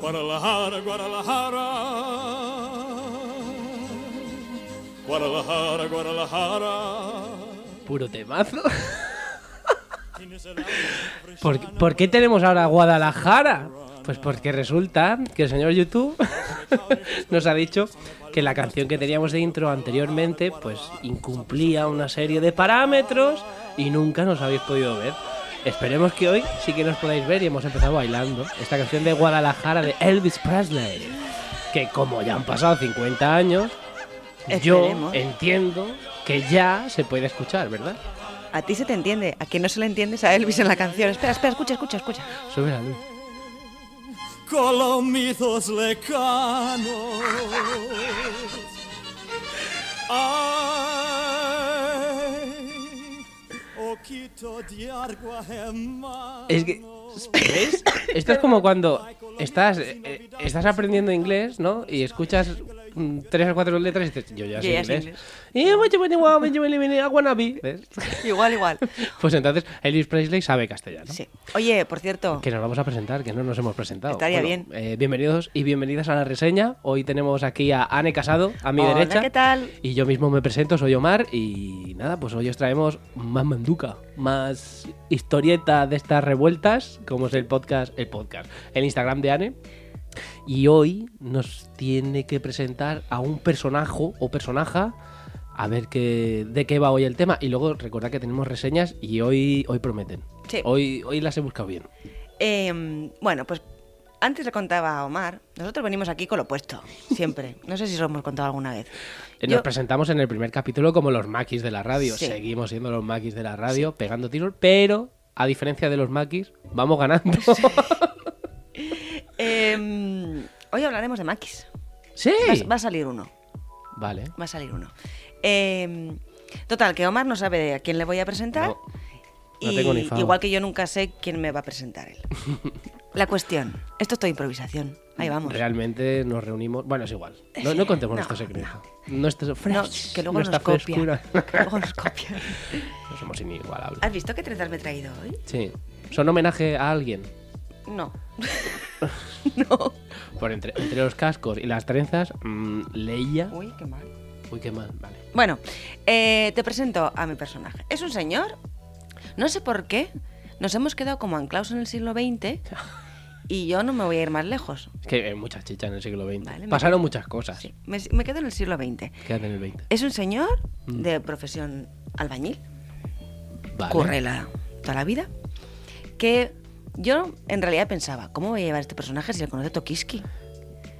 Guadalajara, Guadalajara. Guadalajara, Guadalajara. Puro temazo. Tienes el alma fresca. ¿Por, por qué tenemos ahora Guadalajara? Pues porque resulta que el señor YouTube nos ha dicho que la canción que teníamos de intro anteriormente pues incumplía una serie de parámetros y nunca nos habéis podido ver. Esperemos que hoy sí que nos podáis ver y hemos empezado bailando esta canción de Guadalajara de Elvis Presley, que como ya han pasado 50 años, yo Esperemos. entiendo que ya se puede escuchar, ¿verdad? A ti se te entiende, a quien no se le entiendes a Elvis en la canción. Espera, espera, escucha, escucha, escucha. Sube la luz. Colomizos lecanos. Ay, oquito de agua en mano. Es que, ¿ves? Esto es como cuando estás, eh, eh, estás aprendiendo inglés, ¿no? Y escuchas mm, tres o cuatro letras y dices, yo ya Yo sé ya sé inglés. Eh, what you wanna want, what you wanna be, I wanna be. ¿Ves? Igual, igual. Pues entonces Elvis Presley sabe castellano. Sí. Oye, por cierto, Que nos vamos a presentar, que no nos hemos presentado. Estaría bien. eh, bienvenidos y bienvenidas a la reseña. Hoy tenemos aquí a Ane Casado, a mi Hola, derecha. ¿qué tal? Y yo mismo me presento, soy Omar. Y nada, pues hoy os traemos más manduca, más historieta de estas revueltas, como es el podcast, el podcast, el Instagram de Ane. Y hoy nos tiene que presentar a un personaje o personaja. A ver qué, de qué va hoy el tema. Y luego recordad que tenemos reseñas y hoy, hoy prometen. Sí. Hoy, hoy las he buscado bien. eh, bueno, pues antes le contaba a Omar, nosotros venimos aquí con lo opuesto, siempre. No sé si os lo hemos contado alguna vez. Eh, Nos Yo- presentamos en el primer capítulo como los maquis de la radio. Sí. Seguimos siendo los maquis de la radio, pegando tiros, pero a diferencia de los maquis, vamos ganando. Eh, hoy hablaremos de maquis. ¡Sí! Va, a- va a salir uno, Vale. va a salir uno. Eh, total, que Omar no sabe a quién le voy a presentar. No, no tengo ni fao. igual que yo nunca sé quién me va a presentar él. La cuestión, esto es toda improvisación. Ahí vamos. Realmente nos reunimos. Bueno, es igual. No, no contemos No, nuestro secreto. Nuestro No, fresh, que luego nuestra nos copia. frescura. Que luego nos copia. No somos inigualables. ¿Has visto qué trenzas me he traído hoy? Sí. Son homenaje a alguien. No. no. Por entre, entre los cascos y las trenzas, mm, leía. Uy, qué mal. Uy, qué mal. Vale. Bueno, eh, te presento a mi personaje. Es un señor. No sé por qué. Nos hemos quedado como anclados en el siglo XX. Y yo no me voy a ir más lejos. Es que hay muchas chichas en el siglo XX. Vale, me- Pasaron muchas cosas. Sí, me, me quedo en el siglo XX. Quédate en el 20. Es un señor de profesión albañil. Vale. currela toda la vida. Que yo en realidad pensaba, ¿cómo voy a llevar a este personaje si le conoce Tokiski?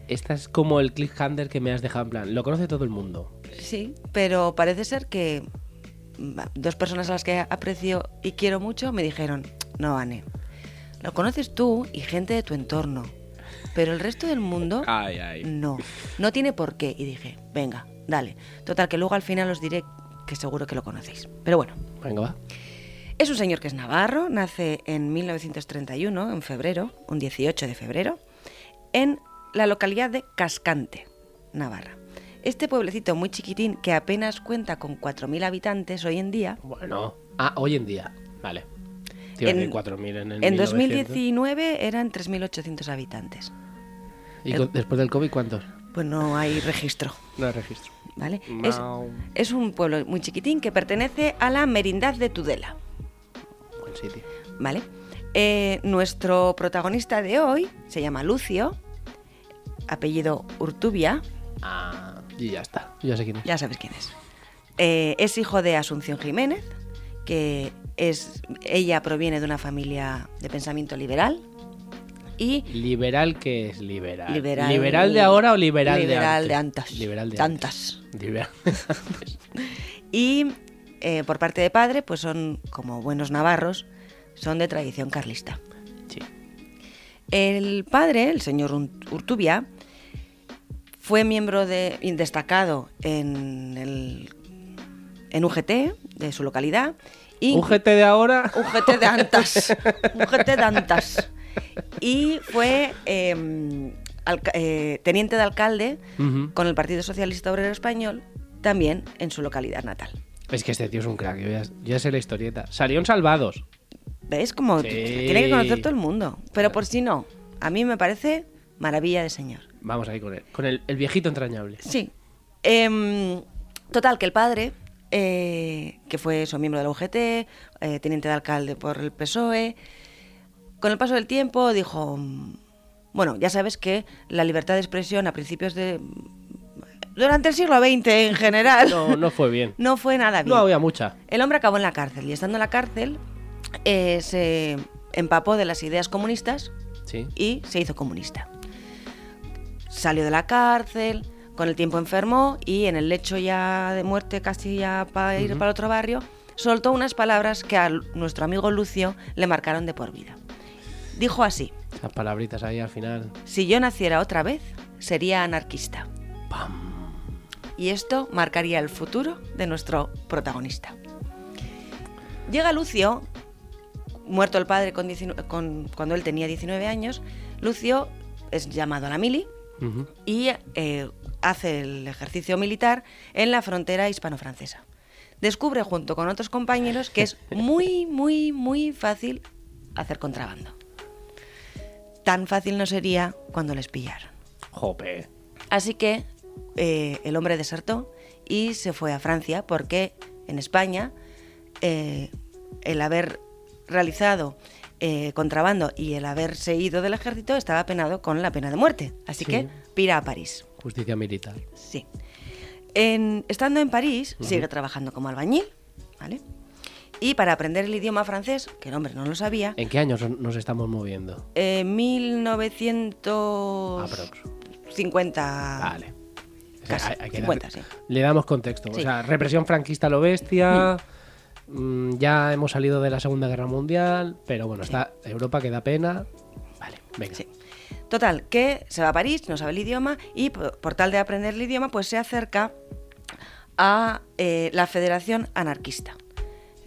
Esta es como el cliffhanger que me has dejado en plan. Lo conoce todo el mundo. Sí, pero parece ser que mm, dos personas a las que aprecio y quiero mucho me dijeron, no, Anne, lo conoces tú y gente de tu entorno, pero el resto del mundo Ay, ay. no, no tiene por qué. Y dije, venga, dale. Total, que luego al final os diré que seguro que lo conocéis. Pero bueno, Venga, va. Es un señor que es navarro, nace en 1931, en febrero, un 18 de febrero, en la localidad de Cascante, Navarra. Este pueblecito muy chiquitín que apenas cuenta con 4.000 habitantes hoy en día, Bueno. Ah, hoy en día. Vale. Te iba a En- decir 4.000 en el en 1900. 2019 eran 3.800 habitantes. ¿Y con- después del COVID cuántos? Pues no hay registro, No registro. ¿vale? Es, Mau. es un pueblo muy chiquitín que pertenece a la merindad de Tudela. Buen sitio. ¿Vale? Eh, nuestro protagonista de hoy se llama Lucio, apellido Urtubia, Ah, y ya está. Yo ya sé quién es. ya sabes quién es. Eh, es hijo de Asunción Jiménez, que es, ella proviene de una familia de pensamiento liberal y Liberal que es liberal. liberal. de ahora o liberal, liberal de de antes. antes? Liberal de Tantas. antes. Liberal de antes. Y eh, por parte de padre, pues son como buenos navarros, son de tradición carlista. El padre, el señor Unt- Urtubia, fue miembro de, destacado en, el, en UGT de su localidad. y- UGT de ahora. UGT de Antas. UGT de Antas. Y fue eh, alca- eh, teniente de alcalde Ujú. con el Partido Socialista Obrero Español, también en su localidad natal. Es que este tío es un crack, yo ya, yo ya sé la historieta. Salieron salvados. ¿Ves? Como Sí. tiene que conocer todo el mundo. Pero por si no, a mí me parece maravilla de señor. Vamos ahí con él. Con el, el viejito entrañable. Sí. Em, total, que el padre, eh, que fue eso, miembro de la UGT, eh, teniente de alcalde por el PSOE, E, con el paso del tiempo dijo, mm, bueno, ya sabes que la libertad de expresión a principios de... Durante el siglo XX en general No, no fue bien. no fue nada bien. No había mucha. El hombre acabó en la cárcel y estando en la cárcel eh, se empapó de las ideas comunistas Sí. y se hizo comunista. Salió de la cárcel, con el tiempo enfermó y en el lecho ya de muerte, casi ya para ir para otro barrio, soltó unas palabras que a l- nuestro amigo Lucio le marcaron de por vida. Dijo así, Esas palabritas ahí al final. si yo naciera otra vez, sería anarquista. Y esto marcaría el futuro de nuestro protagonista. Llega Lucio, muerto el padre con 19 con- cuando él tenía 19 años, Lucio es llamado a la mili Ujú. y eh, hace el ejercicio militar en la frontera hispano-francesa. Descubre junto con otros compañeros que es muy, muy, muy fácil hacer contrabando. Tan fácil no sería cuando les pillaron. Jope. Así que eh, el hombre desertó y se fue a Francia porque en España eh, el haber realizado eh, contrabando y el haberse ido del ejército estaba penado con la pena de muerte. Así Sí. que pira a París. Justicia militar. Sí. En- estando en París, sigue trabajando como albañil, ¿vale? Y para aprender el idioma francés, que el hombre no lo sabía, ¿En qué años nos estamos moviendo? en Aprox. 1950 Vale. O sea, Casi, hay- hay que 50, darle- sí. Le damos contexto. O Sí. sea, represión franquista a lo bestia. mm, ya hemos salido de la Segunda Guerra Mundial. Pero bueno, está Europa que da pena. Vale, venga. Sí. Total, que se va a París, no sabe el idioma y po- por tal de aprender el idioma, pues se acerca a eh, la Federación Anarquista.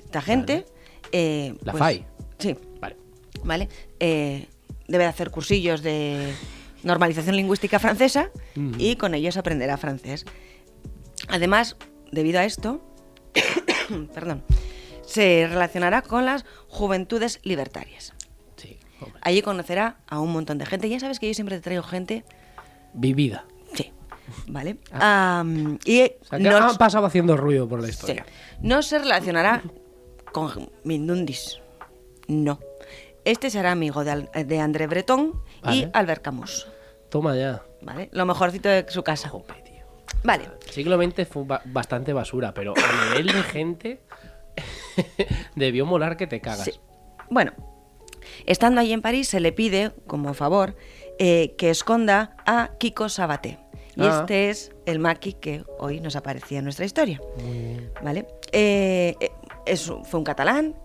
Esta gente... eh, La pues- FAI. Sí, Vale. ¿vale? Eh, debe de hacer cursillos de normalización lingüística francesa Ujú. y con ellos aprenderá francés. Además, debido a esto, perdón, se relacionará con las juventudes libertarias. Sí, hombre. Allí conocerá a un montón de gente. Ya sabes que yo siempre te traigo gente. Vivida. Sí. ¿Vale? Am, y Ah. O sea, que no, han pasado haciendo ruido por la sí. historia. no se relacionará con Mindundis. No. Este será amigo de, Al- de André Breton y Vale. Albert Camus. Toma ya. ¿Vale? Lo mejorcito de su casa. Jope, tío. Vale. El siglo XX fue ba- bastante basura, pero a nivel de gente debió molar que te cagas. Sí. Bueno, estando allí en París, se le pide, como favor, eh, que esconda a Kiko Sabaté. Y Ah. este es el maqui que hoy nos aparecía en nuestra historia. ¿Vale? Eh, eh, es un- fue un catalán,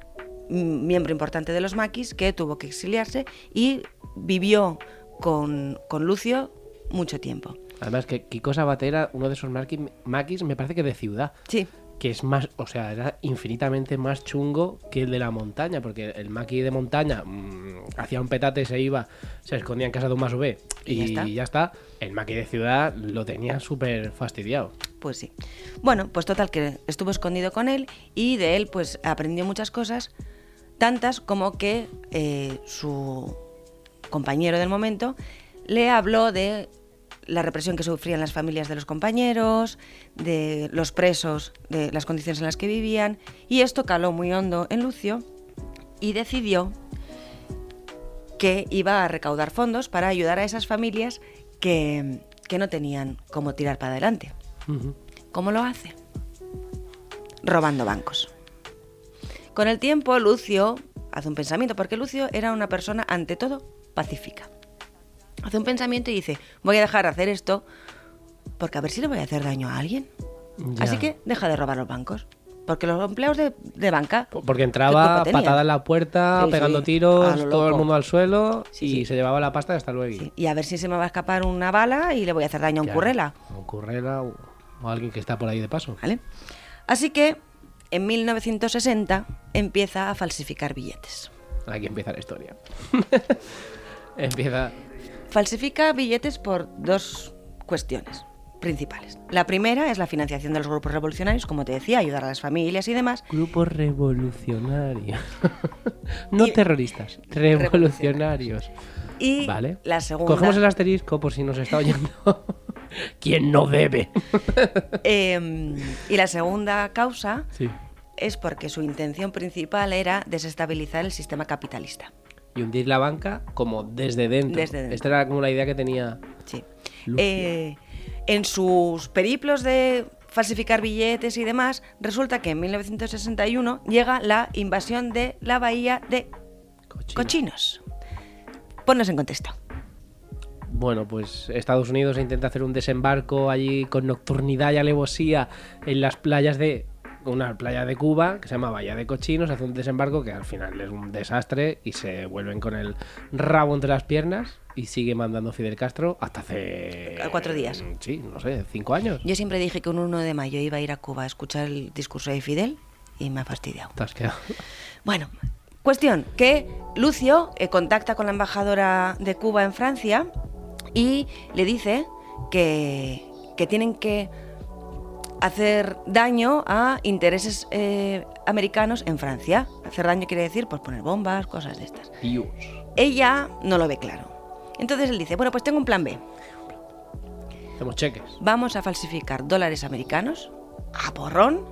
m- miembro importante de los maquis, que tuvo que exiliarse y vivió con, con Lucio mucho tiempo. Además que Kiko Sabater era uno de esos marqui- maquis, me parece que de ciudad, Sí, que es más, o sea, era infinitamente más chungo que el de la montaña, porque el maqui de montaña mm, hacía un petate, se iba, se escondía en casa de un masové Y ya y está. ya está. El maqui de ciudad lo tenía súper fastidiado. Pues sí. Bueno, pues total que estuvo escondido con él y de él pues aprendió muchas cosas, tantas como que eh, su compañero del momento le habló de la represión que sufrían las familias de los compañeros, de los presos, de las condiciones en las que vivían y esto caló muy hondo en Lucio y decidió que iba a recaudar fondos para ayudar a esas familias que, que no tenían cómo tirar para adelante. Ujú. ¿Cómo lo hace? Robando bancos. Con el tiempo, Lucio hace un pensamiento, porque Lucio era una persona, ante todo, pacífica. Hace un pensamiento y dice, voy a dejar de hacer esto porque a ver si le voy a hacer daño a alguien. Ya. Así que deja de robar los bancos. Porque los empleados de, de banca. Po- Porque ¿Qué entraba, culpa tenían? patada en la puerta, Sí, sí, pegando a tiros, lo todo el loco. mundo al suelo Sí, y sí. se llevaba la pasta hasta luego. Sí, Y a ver si se me va a escapar una bala y le voy a hacer daño a un currela. Un currela o, o alguien que está por ahí de paso. ¿vale? Así que en 1960 empieza a falsificar billetes. Aquí empieza la historia. empieza. Falsifica billetes por dos cuestiones principales. La primera es la financiación de los grupos revolucionarios, como te decía, ayudar a las familias y demás. Grupos revolucionarios. no Y- terroristas, revolucionarios. Y Vale. la segunda... Cogemos el asterisco por si nos está oyendo. ¿Quién no debe? Em, y la segunda causa sí. es porque su intención principal era desestabilizar el sistema capitalista. Y hundir la banca como desde dentro. Desde dentro. Esta era como la idea que tenía. Sí. Lucio. Eh, en sus periplos de falsificar billetes y demás, resulta que en 1961 llega la invasión de la bahía de Cochino. Cochinos. Ponnos en contexto. Bueno, pues Estados Unidos intenta hacer un desembarco allí con nocturnidad y alevosía en las playas de una playa de Cuba que se llama Bahía de Cochinos, hace un desembarco que al final es un desastre y se vuelven con el rabo entre las piernas y sigue mandando Fidel Castro hasta hace mm, Cuatro días. Sí, no sé, cinco años. Yo siempre dije que un 1 de mayo iba a ir a Cuba a escuchar el discurso de Fidel y me ha fastidiado. Te has quedado. Bueno, cuestión que Lucio eh, contacta con la embajadora de Cuba en Francia y le dice que, que tienen que hacer daño a intereses eh, americanos en Francia. Hacer daño quiere decir pues poner bombas, cosas de estas. Dios. Ella no lo ve claro. Entonces él dice, bueno, pues tengo un plan B. Hacemos cheques. Vamos a falsificar dólares americanos a porrón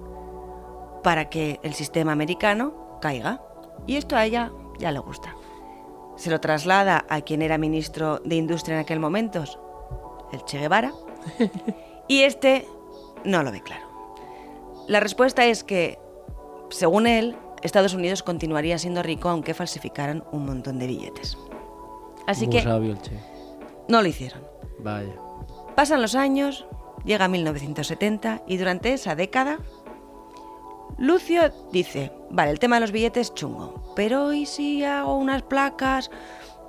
para que el sistema americano caiga. Y esto a ella ya le gusta. Se lo traslada a quien era ministro de Industria en aquel momento, el Che Guevara, y este no lo ve claro. La respuesta es que, según él, Estados Unidos continuaría siendo rico aunque falsificaran un montón de billetes. Así Muy que sabio el che. no lo hicieron. Vaya. Pasan los años, llega 1970 y durante esa década, Lucio dice, vale, el tema de los billetes chungo, pero ¿y si hago unas placas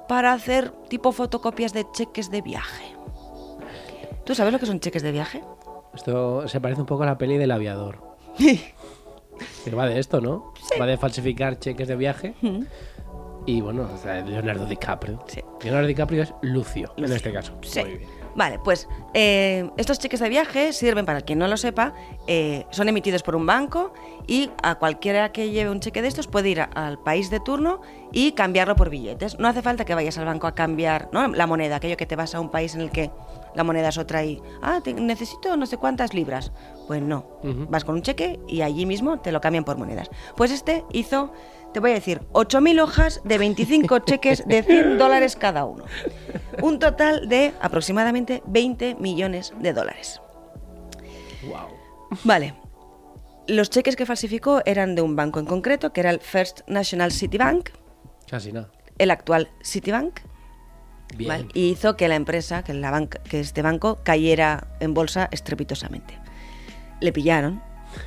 para hacer tipo fotocopias de cheques de viaje? ¿Tú sabes lo que son cheques de viaje? Esto se parece un poco a la peli del aviador. Que va de esto, ¿no? Va de falsificar cheques de viaje. Y bueno, o sea, Leonardo DiCaprio. Sí. Leonardo DiCaprio es Lucio, en Lucio. este caso. Sí. Muy bien. Vale, pues eh, estos cheques de viaje sirven, para quien no lo sepa, eh, son emitidos por un banco y a cualquiera que lleve un cheque de estos puede ir a- al país de turno y cambiarlo por billetes. No hace falta que vayas al banco a cambiar ¿no? la moneda, aquello que te vas a un país en el que la moneda es otra y, ah, te- necesito no sé cuántas libras. Pues no, Ujú. vas con un cheque y allí mismo te lo cambian por monedas. Pues este hizo, te voy a decir, 8.000 hojas de 25 cheques de 100 dólares cada uno. Un total de aproximadamente 20 millones de dólares. Wow. Vale. Los cheques que falsificó eran de un banco en concreto, que era el First National City Bank, Casi nada. el actual Citibank, Bien. ¿vale? y hizo que la empresa, que, la banca, que este banco, cayera en bolsa estrepitosamente. Le pillaron,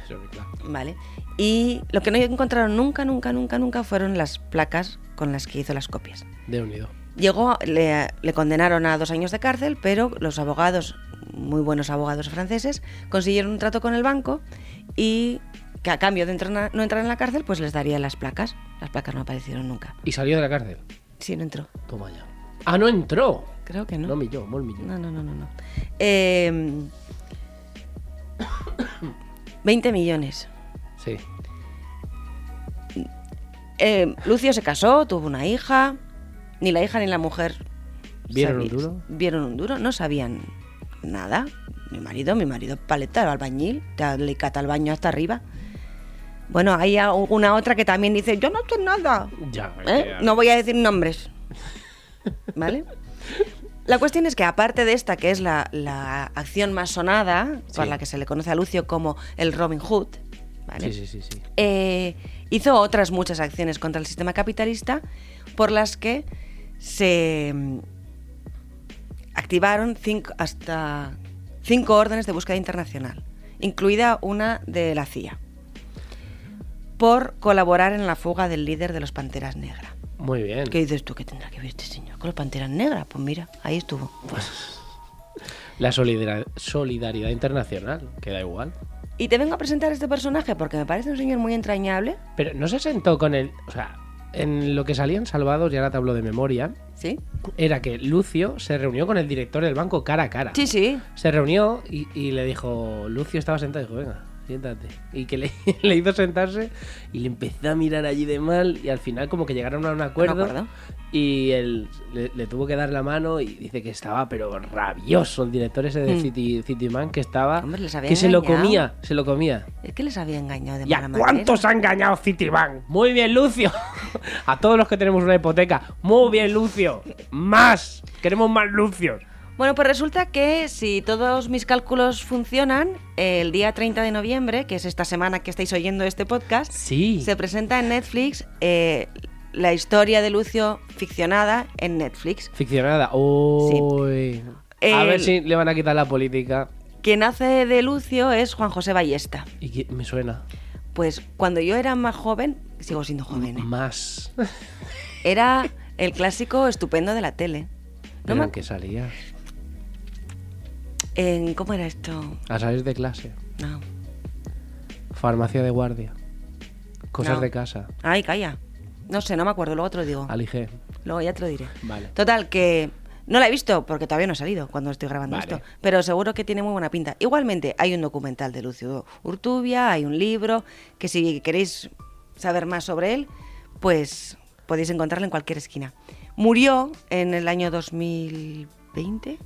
Eso es claro. Vale. Y lo que no encontraron nunca, nunca, nunca, nunca fueron las placas con las que hizo las copias. De unido. Llegó, le, le condenaron a dos años de cárcel, pero los abogados, muy buenos abogados franceses, consiguieron un trato con el banco y que a cambio de entrar- no entrar en la cárcel, pues les darían las placas. Las placas no aparecieron nunca. Y salió de la cárcel. Sí, no entró. Toma ya. Ah, no entró. Creo que No, no. no millón, muy millón. No, no, no, no. no. Eh, 20 millones. Sí. Eh, Lucio se casó, tuvo una hija. Ni la hija ni la mujer. ¿Vieron un duro? Vieron un duro, no sabían nada. Mi marido, mi marido paleta, albañil, te le cata el baño hasta arriba. Bueno, hay una otra que también dice, yo no sé nada. Ya. ¿eh? ya. No voy a decir nombres. ¿Vale? La cuestión es que aparte de esta, que es la, la acción más sonada, por Sí. la que se le conoce a Lucio como el Robin Hood, ¿vale? Sí, sí, sí, sí. eh, hizo otras muchas acciones contra el sistema capitalista por las que se mm, activaron cinco- hasta cinco órdenes de búsqueda internacional, incluida una de la CIA. por colaborar en la fuga del líder de los Panteras Negras. Muy bien. ¿Qué dices tú? ¿Qué tendrá que ver este señor con los Panteras Negras? Pues mira, ahí estuvo. La solidar- solidaridad internacional, que da igual. Y te vengo a presentar a este personaje porque me parece un señor muy entrañable. Pero no se sentó con el. O sea, en lo que salían salvados, y ahora te hablo de memoria, ¿Sí? era que Lucio se reunió con el director del banco cara a cara. Sí, sí. Se reunió y, y le dijo. Lucio estaba sentado y dijo, venga, siéntate. Y que le, le hizo sentarse y le empezó a mirar allí de mal. Y al final, como que llegaron a un acuerdo. acuerdo. Y él le, le tuvo que dar la mano y dice que estaba, pero rabioso el director ese de Mm. City, Cityman, que estaba. Hombre, les había que se lo engañado. comía, se lo comía. Es que les había engañado de ¿Y mala a manera. cuántos ha engañado Citibank? Muy bien, Lucio. A todos los que tenemos una hipoteca. Muy bien, Lucio. Más. Queremos más Lucios. Bueno, pues resulta que si todos mis cálculos funcionan, el día 30 de noviembre, que es esta semana que estáis oyendo este podcast, Sí. se presenta en Netflix eh, la historia de Lucio ficcionada en Netflix. Ficcionada. Uy. A El- ver si le van a quitar la política. Quien hace de Lucio es Juan José Ballesta. Y que- me suena. Pues cuando yo era más joven, sigo siendo joven, ¿eh? Más. era el clásico estupendo de la tele. No Pero me en que salías. en- ¿Cómo era esto? A salir de clase. No. Farmacia de guardia. Cosas No. de casa. Ay, calla. No sé, no me acuerdo, luego te lo digo. Alige. Luego ya te lo diré. Vale. Total, que no la he visto porque todavía no ha salido cuando estoy grabando Vale. esto. Pero seguro que tiene muy buena pinta. Igualmente, hay un documental de Lucio Urtubia, hay un libro, que si queréis saber más sobre él, pues podéis encontrarlo en cualquier esquina. Murió en el año 2020.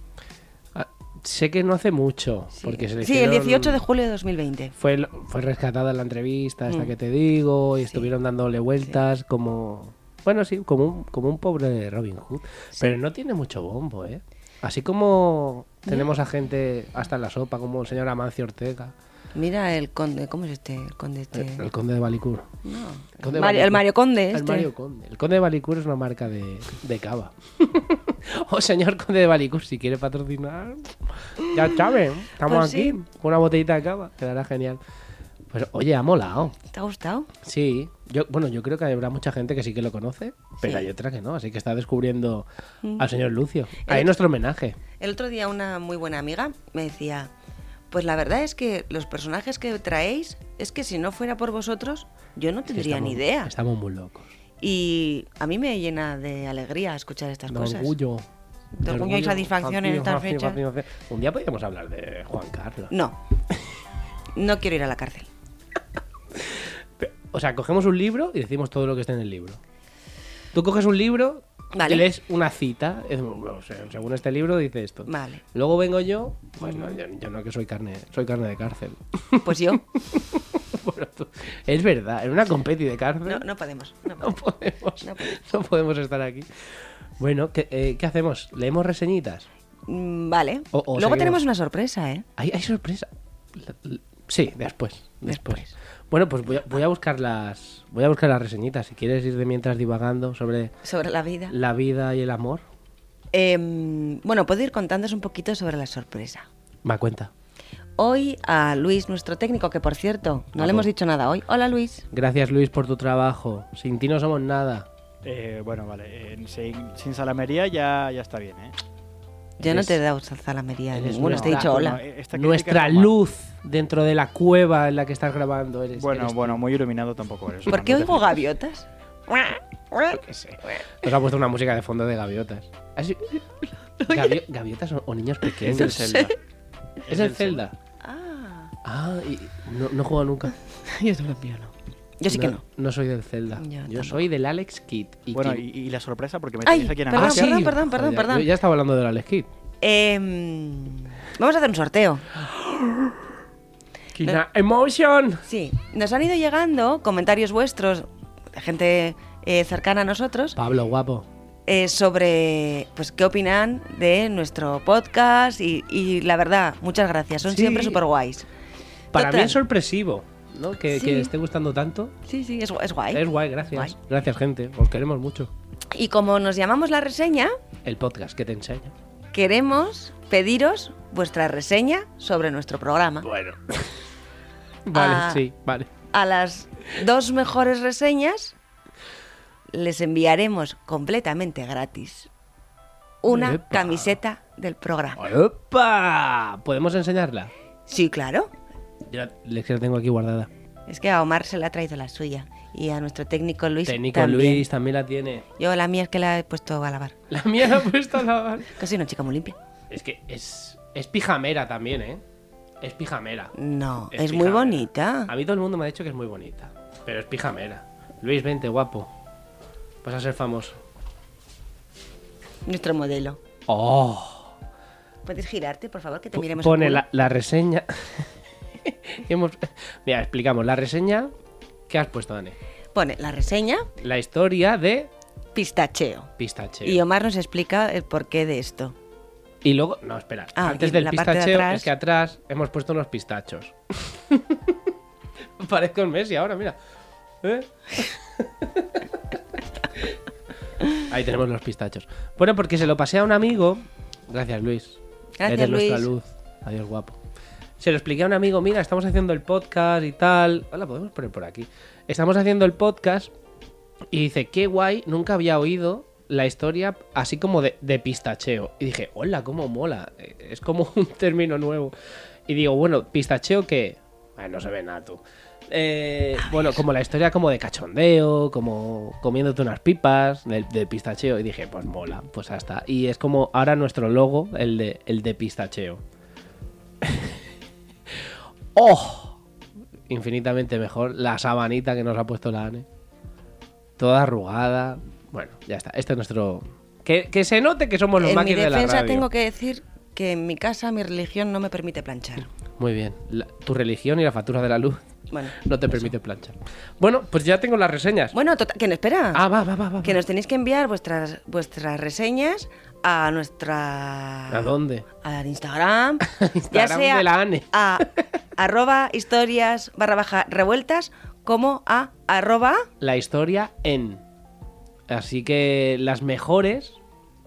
Ah, sé que no hace mucho. Sí, Porque se le Sí, el hicieron- 18 de julio de 2020. fue, lo- fue rescatada la entrevista esta Mm. que te digo y estuvieron dándole vueltas como bueno sí como un, como un pobre Robin Hood pero no tiene mucho bombo eh así como tenemos a gente hasta en la sopa como el señor Amancio Ortega Mira el conde, ¿cómo es este? El conde este. el, el conde de Balicur No. El conde de Mario- Balicur. el Mario Conde El este. Mario Conde. El Conde de Balicur es una marca de, de cava. o señor Conde de Balicur, si quiere patrocinar, ya saben, estamos Pues aquí sí. con una botellita de cava, quedará genial. Pues oye, ha molado. ¿Te ha gustado? Sí, yo, bueno, yo creo que habrá mucha gente que sí que lo conoce, pero Sí. Mm. hay otra que no, así que está descubriendo al señor Lucio. Ahí nuestro homenaje. El otro día una muy buena amiga me decía, pues la verdad es que los personajes que traéis es que si no fuera por vosotros yo no que tendría estamos- ni idea. Estamos muy locos. Y a mí me llena de alegría escuchar estas De cosas. orgullo. De orgullo y satisfacción en estas fechas. Un día podríamos hablar de Juan Carlos. No, no quiero ir a la cárcel. Pe- O sea, cogemos un libro y decimos todo lo que está en el libro. Tú coges un libro Vale. y lees una cita. eh, o sea, Según este libro dice esto. Vale. Mm. Luego vengo yo. Pues no, yo, yo no que soy carne, soy carne de cárcel. Pues yo, Bueno, tú- es verdad, en una competi de cárcel. no, no podemos. no No podemos. podemos, No no podemos. podemos. estar aquí. Bueno, ¿qué, eh, qué hacemos? ¿Leemos reseñitas? Mm, Vale. O- o Luego oh, seguimos. tenemos una sorpresa, ¿eh? ¿Hay, hay sorpresa? La- la- Sí, después, después. Después. Bueno, pues voy a, voy a buscar las voy a buscar las reseñitas. Si quieres ir de mientras divagando sobre Sobre la vida. la vida y el amor, Em, bueno, puedo ir contándoos un poquito sobre la sorpresa. me cuenta. Hoy a Luis, nuestro técnico, que por cierto, no le Vamos. hemos dicho nada hoy. Hola Luis. Gracias Luis por tu trabajo. Sin ti no somos nada. Eh, bueno, vale. eh, sin, sin salamería ya, ya está bien, ¿eh? Yo no Eres- te he dado salamería eres ninguno, te he una- dicho hola. Bueno, eh, esta crítica Nuestra es normal. luz dentro de la cueva en la que estás grabando eres. Bueno, eres tú. bueno, muy iluminado tampoco eres. ¿Por Fernando, qué te oigo fijas. gaviotas? Nos ha puesto una música de fondo de gaviotas. Así- Gavi- ¿Gaviotas o, o niños Es pequeños? del Zelda. ¿Es el Zelda? Ah, Ah, y no, no he jugado nunca. yo también no. Yo sí que no. No soy del Zelda. Yo Yo, tampoco. soy del Alex Kidd. Y Bueno, que- y, y la sorpresa porque me Ay, tenéis aquí en perdón, América. perdón, perdón, perdón, Joder, perdón. yo ya estaba hablando del Alex Kidd. Em, vamos a hacer un sorteo. Kina Emotion. Sí, nos han ido llegando comentarios vuestros, de gente eh, cercana a nosotros, Pablo, guapo. eh, sobre pues qué opinan de nuestro podcast y, y la verdad, muchas gracias, son Sí. siempre súper guays. Para mí Total. es sorpresivo, ¿no? Que, Sí. que esté gustando tanto. Sí, sí, es, gu- es guay. Es guay, gracias. Gracias, gente. Os queremos mucho. Y como nos llamamos la reseña, El podcast que te enseña. queremos pediros vuestra reseña sobre nuestro programa Bueno. vale, Ah. sí, vale. a las dos mejores reseñas, les enviaremos completamente gratis una Epa. camiseta del programa. ¡Opa! ¿Podemos enseñarla? Sí, claro. Yo la que la tengo aquí guardada. Es que a Omar se le ha traído la suya y a nuestro técnico Luis Técnico también. Luis también la tiene. Yo la mía es que la he puesto a lavar. La mía la he puesto a lavar. Que soy una chica muy limpia. Es que es, es pijamera también, ¿eh? Es pijamera. No, Mm, es, muy pijamera. bonita. A mí todo el mundo me ha dicho que es muy bonita. Pero es pijamera. Luis, vente, guapo. Vas a ser famoso. Nuestro modelo. ¡Oh! ¿Puedes girarte, por favor, que te miremos? el Pone culo? la, la reseña. Hemos- Mira, explicamos. La reseña que has puesto, Dani. Pone la reseña, La historia de pistacheo. pistacheo. Y Omar nos explica el porqué de esto. Y luego, no, espera. Ah, Antes y del la parte de pistacheo, atrás. es que atrás hemos puesto unos pistachos. Parezco un Messi ahora, mira. ¿Eh? Ahí tenemos los pistachos. Bueno, porque se lo pasé a un amigo. Gracias, Luis. Gracias, Eres nuestra Luis. luz. Adiós, guapo. Se lo expliqué a un amigo, mira, estamos haciendo el podcast y tal. Hola, podemos poner por aquí. Estamos haciendo el podcast y dice, qué guay, nunca había oído la historia así como de, de pistacheo. Y dije, hola, cómo mola. eh, Es como un término nuevo. Y digo, bueno, pistacheo que... Ay, no se ve nada tú. Eh, bueno, como la historia como de cachondeo, como comiéndote unas pipas del del pistacheo. Y dije, pues mola, pues hasta. Y es como ahora nuestro logo, el de, el de pistacheo. ¡Oh! Infinitamente mejor la sabanita que nos ha puesto la ANE toda arrugada. Bueno, ya está. Este es nuestro. Que, que se note que somos los en mi máquinas de la defensa radio. tengo que decir que en mi casa mi religión no me permite planchar. Muy bien. La- tu religión y la factura de la luz Bueno, no te permite planchar. Bueno, pues ya tengo las reseñas. bueno, total, que no espera. ah, va, va, va, va. que va. nos tenéis que enviar vuestras vuestras reseñas a nuestra ¿A dónde? al Instagram, ya Instagram sea de la ANE. a arroba historias barra baja revueltas como a arroba La historia en. Así que las mejores,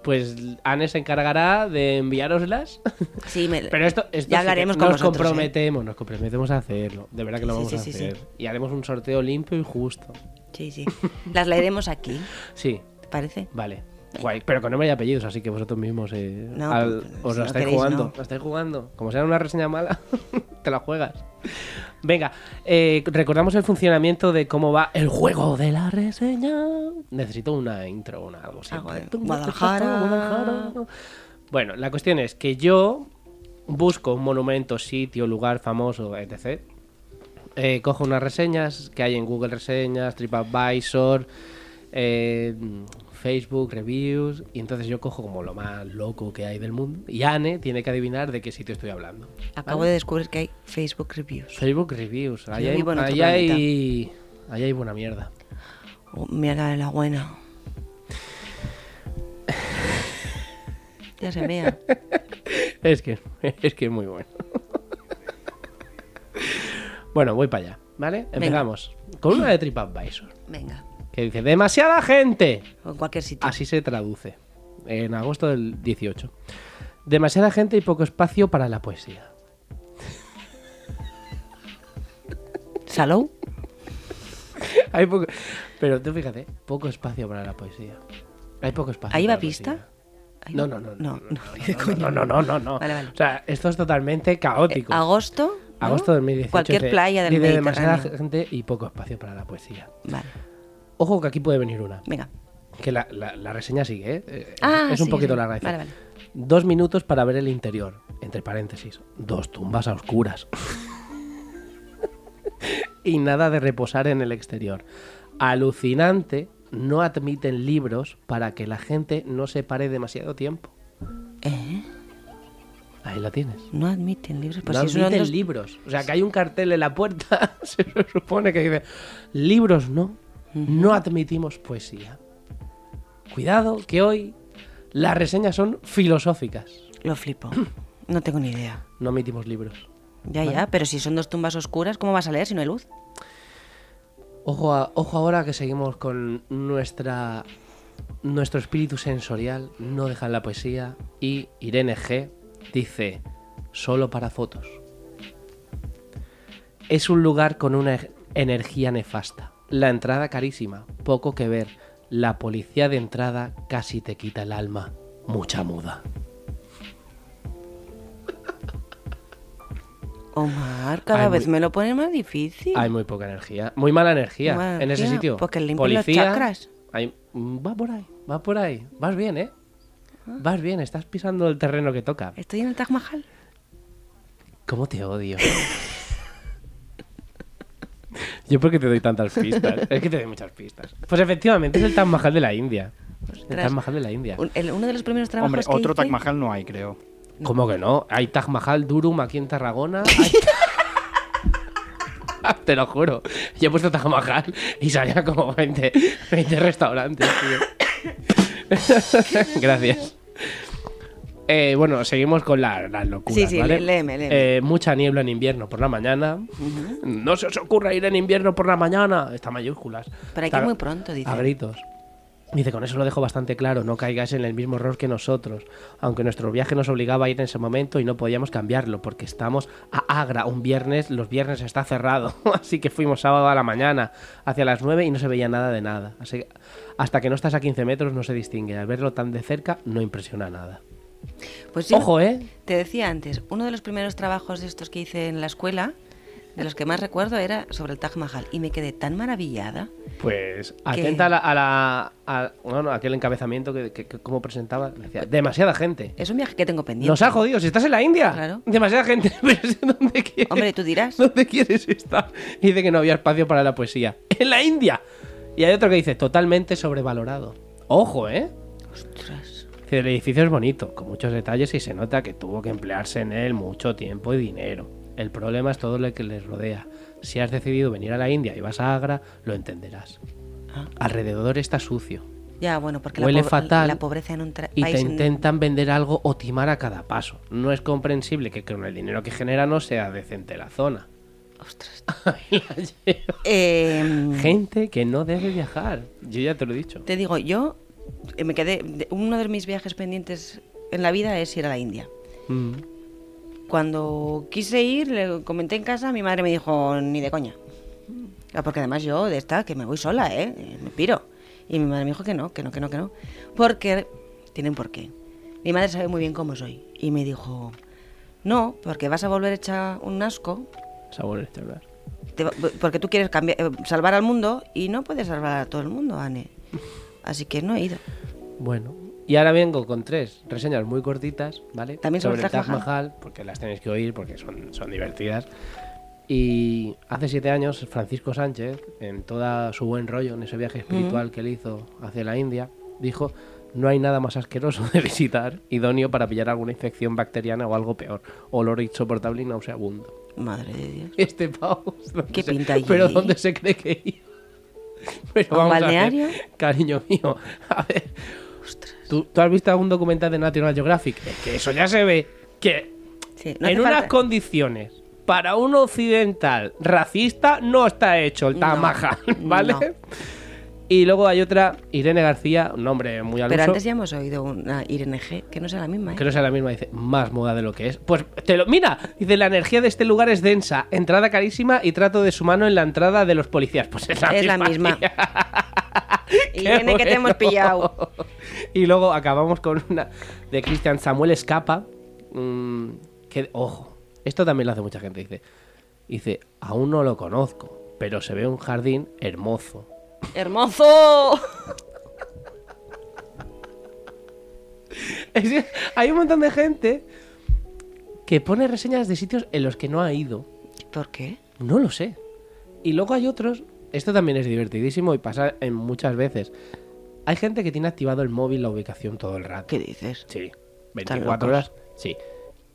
pues Anne se encargará de enviároslas. sí, me- Pero esto, esto ya sí hablaremos que con nos vosotros, ¿eh? comprometemos, nos comprometemos a hacerlo. De verdad que lo Sí, vamos sí, a sí, sí. hacer. Y haremos un sorteo limpio y justo. sí, sí. Las leeremos aquí, Sí, ¿te parece? Vale. Guay, pero con nombre y apellidos, así que vosotros mismos eh, No, al- pues, os si la no estáis queréis, jugando. no. La estáis jugando. Como sea una reseña mala, te la juegas. Venga, eh, recordamos el funcionamiento de cómo va el juego de la reseña. Necesito una intro o una algo. Algo siempre. de Guadalajara. Guadalajara. Bueno, la cuestión es que yo busco un monumento, sitio, lugar famoso, etc. Eh, cojo unas reseñas que hay en Google Reseñas, TripAdvisor, eh, Facebook, Reviews, y entonces yo cojo como lo más loco que hay del mundo. Y Anne tiene que adivinar de qué sitio estoy hablando. Acabo de descubrir que hay Facebook reviews. Facebook Reviews, ahí Yo hay, vivo en otro ahí hay, ahí hay buena mierda. Oh, mierda de la buena. Ya se mea. Es que es, que es muy bueno. bueno, voy para allá, ¿vale? Empezamos con una de TripAdvisor, Venga, que dice, demasiada gente. o en cualquier sitio. Así se traduce. En agosto del 18. Demasiada gente y poco espacio para la poesía. ¿Salou? Hay poco... Pero tú fíjate, poco espacio para la poesía. Hay poco espacio. ¿Ahí para va la pista? poesía. Ay, No, no, no. No, no. No, no, no, no. no. Vale, vale. O sea, esto es totalmente caótico. Eh, Agosto. ¿no? Agosto del 2018. Cualquier dice- playa del dice demasiada Mediterráneo. gente y poco espacio para la poesía. Vale, Ojo que aquí puede venir una. venga. Que la, la- la reseña sigue, ¿eh? ¿eh? Ah, es un sí, poquito sí. larga. dice, Vale, vale. Dos minutos para ver el interior. Entre paréntesis. Dos tumbas a oscuras. y nada de reposar en el exterior. Alucinante. No admiten libros para que la gente no se pare demasiado tiempo. ¿Eh? Ahí la tienes. No admiten libros. Pues no si es uno admiten dos- libros. O sea, que hay un cartel en la puerta, se supone que dice, libros no, no admitimos poesía. Cuidado, que hoy las reseñas son filosóficas. Lo flipo. No tengo ni idea. No admitimos libros. Ya, ya, pero si son dos tumbas oscuras, ¿cómo vas a leer si no hay luz? Ojo, a- ojo ahora que seguimos con nuestra nuestro espíritu sensorial, no dejan la poesía. Y Irene G dice, solo para fotos. Es un lugar con una ex- Energía nefasta. La entrada carísima, poco que ver. La policía de entrada casi te quita el alma. Mucha muda. Omar, cada Ay, vez muy- me lo pone más difícil. Hay muy poca energía, muy mala energía Mala en ese energía, sitio. porque limpian los chakras. hay- mm, Va por ahí, va por ahí. Vas bien, ¿eh? Ah. Vas bien, estás pisando el terreno que toca. Estoy en el Taj Mahal. ¿Cómo te odio? Yo porque te doy tantas pistas. Es que te doy muchas pistas. Pues efectivamente es el Taj Mahal de la India. El Taj Mahal de la India. Un- el- uno de los primeros trabajos Hombre, que otro hice- Taj Mahal no hay, creo. ¿Cómo que no? Hay Taj Mahal Durum aquí en Tarragona. hay- Te lo juro. Yo he puesto Taj Mahal y salía como 20, 20 restaurantes, tío. Gracias. Eh, bueno, seguimos con la- las locuras, Sí, sí, ¿vale? le- léeme, léeme. Eh, mucha niebla en invierno por la mañana. No se os ocurra ir en invierno por la mañana. Está en mayúsculas. Pero hay que Está- ir muy pronto, dice. A gritos. Dice, con eso lo dejo bastante claro, no caigáis en el mismo error que nosotros, aunque nuestro viaje nos obligaba a ir en ese momento y no podíamos cambiarlo, porque estamos a Agra un viernes, los viernes está cerrado, así que fuimos sábado a la mañana, hacia las 9 y no se veía nada de nada. Así que hasta que no estás a 15 metros no se distingue, al verlo tan de cerca no impresiona nada. Pues yo- Ojo, ¿eh? Te decía antes, uno de los primeros trabajos de estos que hice en la escuela, de los que más recuerdo, era sobre el Taj Mahal. Y me quedé tan maravillada. Pues atenta a la... A la- a- bueno, aquel encabezamiento que, que- que- como presentaba, decía, demasiada gente. Es un viaje que tengo pendiente. Nos ha jodido, si estás en la India. Claro. Demasiada gente, pero ¿dónde quieres? Hombre, tú dirás. ¿Dónde quieres estar? Y dice que no había espacio para la poesía. ¡En la India! Y hay otro que dice, totalmente sobrevalorado. Ojo, ¿eh? Ostras. Dice, El edificio es bonito, con muchos detalles y se nota que tuvo que emplearse en él mucho tiempo y dinero. El problema es todo lo que les rodea. Si has decidido venir a la India y vas a Agra, lo entenderás. Ah. Alrededor está sucio Ya, bueno, porque Huele la, pobre- fatal la pobreza en un tra- y te país... en- intentan vender algo o timar a cada paso. No es comprensible que con el dinero que genera no sea decente la zona. Ostras. Ahí la llevo. Em, Gente que no debe viajar. Yo ya te lo he dicho. Te digo, yo eh, me quedé. de- Uno de mis viajes pendientes en la vida es ir a la India. Mm. Cuando quise ir, le comenté en casa, mi madre me dijo, ni de coña. Ah, Porque además yo de esta, que me voy sola, ¿eh? Eh, Me piro. Y mi madre me dijo que no, que no, que no, que no. Porque, tienen por qué. Mi madre sabe muy bien cómo soy. Y me dijo, no, porque vas a volver hecha un asco, Sabor este hablar. te va- porque tú quieres cambiar, eh, salvar al mundo y no puedes salvar a todo el mundo, Anne. Así que no he ido. Bueno. Y ahora vengo con tres reseñas muy cortitas, ¿vale? También sobre sobre el Taj Taj Mahal, porque las tenéis que oír porque son, son divertidas. Y hace siete años, Francisco Sánchez, en toda su buen rollo, en ese viaje Mm. espiritual que él hizo hacia la India, dijo: No hay nada más asqueroso de visitar, idóneo para pillar alguna infección bacteriana o algo peor, olor insoportable y nauseabundo. Madre de Dios. este pavo. ¿dónde ¿Qué se- pinta allí? ¿Pero dónde se cree que iba? Pero ¿A un vamos a ver, balneario? cariño mío, a ver. ¿tú, tú has visto algún documental de National Geographic? Es que eso ya se ve. Que Sí, no en hace unas falta. condiciones, para un occidental racista, no está hecho el No, tamaja, ¿vale? no. Y luego hay otra, Irene García, un nombre muy al Pero uso, antes ya hemos oído una Irene G, que no sea la misma, ¿eh? que no sea la misma, dice, más moda de lo que es. Pues te lo. Mira, dice, la energía de este lugar es densa, entrada carísima y trato de su mano en la entrada de los policías. Pues es la Es la misma. misma. tía. Qué Irene, que te hemos bueno. pillado. Y luego acabamos con una de Cristian Samuel Escapa. mm, que, ojo, esto también lo hace mucha gente. Dice, dice, aún no lo conozco, pero se ve un jardín hermoso. ¡Hermoso! Es que hay un montón de gente que pone reseñas de sitios en los que no ha ido. ¿Por qué? No lo sé. Y luego hay otros, esto también es divertidísimo y pasa en muchas veces. Hay gente que tiene activado el móvil la ubicación todo el rato. ¿Qué dices? Sí, Están 24 locos. horas. Sí.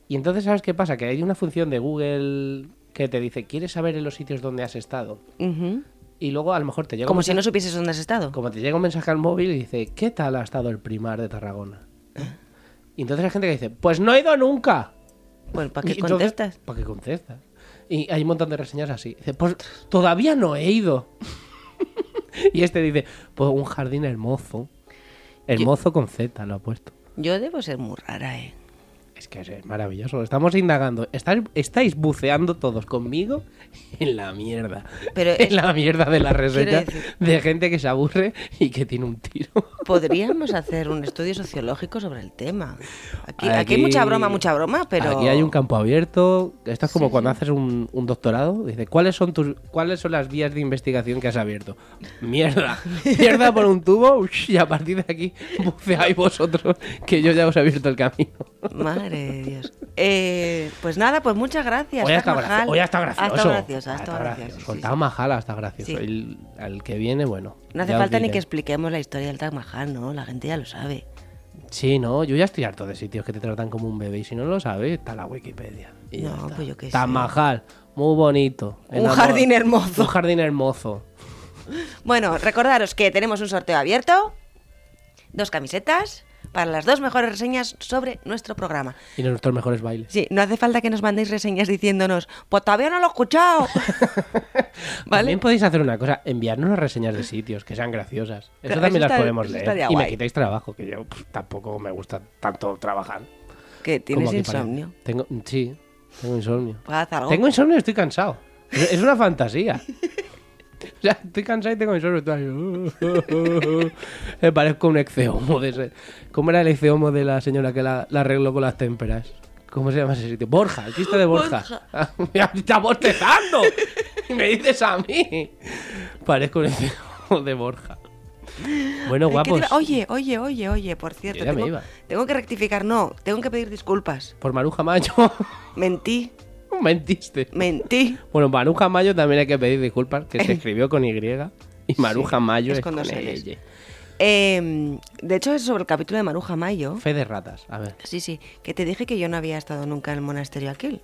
Y entonces, ¿sabes qué pasa? Que hay una función de Google que te dice, ¿quieres saber en los sitios donde has estado? Ujú. Y luego a lo mejor te llega, Como un si no mensaje- supieses dónde has estado. como te llega un mensaje al móvil y dice, ¿qué tal ha estado el primar de Tarragona? Y entonces hay gente que dice, pues no he ido nunca. Pues, ¿para Y qué entonces- contestas? ¿Para qué contestas? Y hay un montón de reseñas así. Dice, pues todavía no he ido. y este dice, pues un jardín hermoso. Hermoso con Z, lo ha puesto. Yo debo ser muy rara, ¿eh? Es que es maravilloso. Estamos indagando. Estáis, estáis buceando todos conmigo en la mierda. Pero es- en la mierda de la reseña decir- de gente que se aburre y que tiene un tiro. Podríamos hacer un estudio sociológico sobre el tema. Aquí, aquí... hay Aquí- mucha broma, mucha broma, pero. Aquí hay un campo abierto. Esto es como cuando haces un, un doctorado. Dice, ¿cuáles son tus cuáles son las vías de investigación que has abierto? Mierda. Mierda por un tubo. ush, Y a partir de aquí buceáis vosotros, que yo ya os he abierto el camino. Madre de Dios. Eh, pues nada, pues muchas gracias. Hoy ha estado Carvajal. gracio- hoy ha estado Ha gracioso. estado gracioso, ha Ha estado estado gracioso, gracioso. sí, Con sí. Taj Mahal ha estado gracioso. Sí. El, al que viene, bueno. No hace ya os falta ni diré. que expliquemos la historia del Taj Mahal, ¿no? La gente ya lo sabe. Sí, no, yo ya estoy harto de sitios que te tratan como un bebé y si no lo sabes, está la Wikipedia. Y ya No, está. pues yo qué sé. Tamajal, muy bonito. Un jardín hermoso. Un jardín hermoso. Bueno, recordaros que tenemos un sorteo abierto, dos camisetas para las dos mejores reseñas sobre nuestro programa. Y nuestros mejores bailes. Sí, no hace falta que nos mandéis reseñas diciéndonos, pues todavía no lo he escuchado. ¿Vale? También podéis hacer una cosa, enviarnos reseñas de sitios que sean graciosas. Eso Eso también las está- podemos eso leer. estaría Y me guay. quitáis trabajo, que yo pues, tampoco me gusta tanto trabajar. Que tienes como aquí para- insomnio. Tengo, sí, tengo insomnio. Pues haz algo. Tengo insomnio y estoy cansado. Es es una fantasía. O sea, estoy cansado y tengo insomnio. Estoy ahí, uh, uh, uh, uh. Me parezco un exceomo. De ese. ¿Cómo era el exceomo de la señora que la, la arregló con las témperas? ¿Cómo se llama ese sitio? Borja, el chiste de Borja. ¡Me está bostezando! Y me dices a mí. Parezco un exceomo de Borja. Bueno, Eh, ¿qué te guapos. iba- Oye, oye, oye, oye, por cierto. ya me tengo, iba. tengo que rectificar, no, tengo que pedir disculpas. Por Maruja Mayo. Mentí, Mentiste. mentí. Bueno, Maruja Mayo también hay que pedir disculpas, que se escribió con Y. Y Maruja Mayo es es, con con, dos Ls. L. Eh, de hecho, es sobre el capítulo de Maruja Mayo. Fe de ratas, a ver. Sí, sí, que te dije que yo no había estado nunca en el monasterio aquel.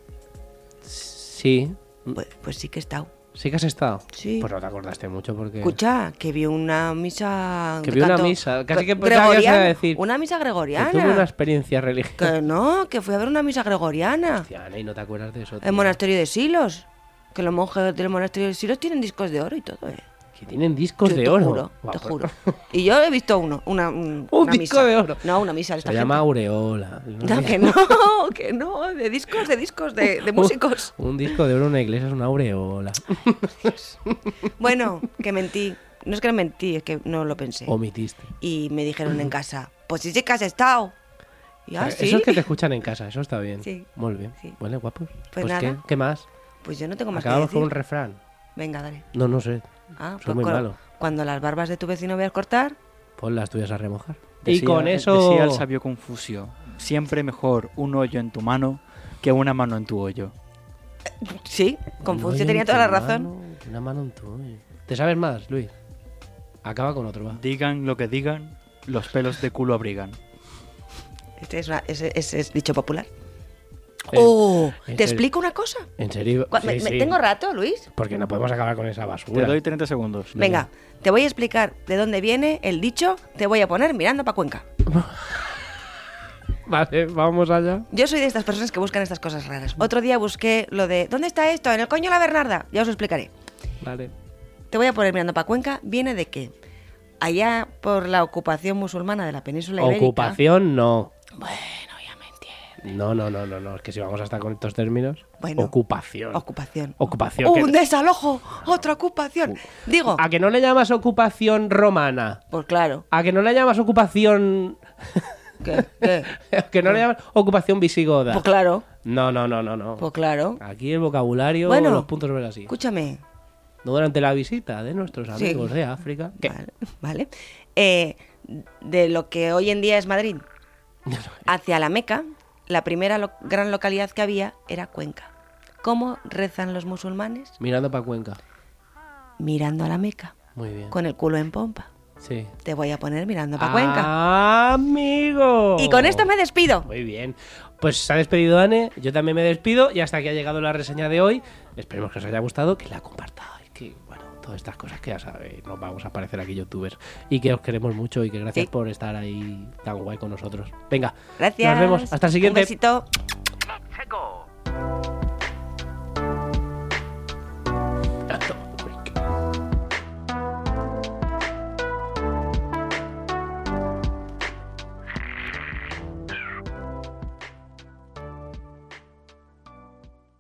Sí, Pues, pues sí que he estado. sí que has estado. Sí. Pues no te acordaste mucho porque. Escucha, que vi una misa. Que de vi una canto misa, casi gre- que pensaba que ibas a gregoriana, decir Una misa que gregoriana. tuve una experiencia religiosa. Que no, que fui a ver una misa gregoriana. Hostia, Ana, y no te acuerdas de eso. El tío. monasterio de Silos. Que los monjes del monasterio de Silos tienen discos de oro y todo, eh. Que tienen discos Yo de te oro. Juro, Guau, te pues- juro. Y yo he visto uno, una, un, Un una disco misa. de oro. No, una misa de esta Se llama gente. Aureola. No, que no, que no, de discos, de discos, de, de músicos. Un, disco de oro en una iglesia es una aureola. Bueno, que mentí. No es que mentí, es que no lo pensé. Omitiste. Y me dijeron en casa, pues sí, sí que has estado. Y yo, "Ah, sí. Esos que te escuchan en casa, eso está bien. Sí. Muy bien. Sí. Vale, guapos. Pues nada. ¿qué? ¿Qué más? Pues yo no tengo más que Acabamos decir. con un refrán. Venga, dale. No, no sé. Ah, Soy muy cua- malo. Cuando las barbas de tu vecino veas cortar, Pon las tuyas a remojar. y Decía- con eso. Decía el sabio Confucio, siempre mejor un hoyo en tu mano que una mano en tu hoyo. sí, Confucio Confucio tenía toda la razón. una mano en tu. hoyo. ¿Te sabes más, Luis? Acaba con otro, va. Digan lo que digan, los pelos de culo abrigan. Este es, una- ese- ese es dicho popular. Eh, oh, en ¿te serio. explico una cosa? En serio. Cu- Sí, me- me- sí. ¿Tengo rato, Luis? Porque no podemos acabar con esa Te basura. doy 30 segundos. Venga, te voy a explicar de dónde viene el dicho te voy a poner mirando pa' Cuenca. Vale, vamos allá. Yo soy de estas personas que buscan estas cosas raras. Mm. Otro día busqué lo de ¿dónde está esto? En el coño la Bernarda. Ya os lo explicaré. Vale. Te voy a poner mirando pa' Cuenca. Viene de que allá por la ocupación musulmana de la península ibérica... Ocupación, no. Bueno, ya me entiendes. No, no, no, no, no. Es que si vamos a estar con estos términos. Bueno. Ocupación. Ocupación. Ocupación. ¡Un que- Ah. desalojo! ¡Otra ocupación! Digo, ¿A que no le llamas ocupación romana? pues claro, ¿A que no le llamas ocupación. que, que- ¿A que no le llamas ocupación visigoda? pues claro, No, no, no, no, no. pues claro. Aquí el vocabulario, Bueno, los puntos verás así. Escúchame, No durante la visita de nuestros Sí. amigos de África. ¿Qué? Vale. vale. Eh, de lo que hoy en día es Madrid hacia la Meca, la primera lo- gran localidad que había era Cuenca. ¿Cómo rezan los musulmanes? Mirando para Cuenca. Mirando a la Meca, Muy bien. con el culo en pompa. Sí. Te voy a poner mirando para Cuenca. amigo. Y con esto me despido. Muy bien. Pues se ha despedido Ane, yo también me despido y hasta aquí ha llegado la reseña de hoy. Esperemos que os haya gustado, que la compartáis, que bueno, todas estas cosas que ya sabéis, nos vamos a aparecer aquí youtubers y que os queremos mucho y que gracias Sí. por estar ahí tan guay con nosotros. Venga, Gracias. nos vemos, hasta el siguiente. Un besito.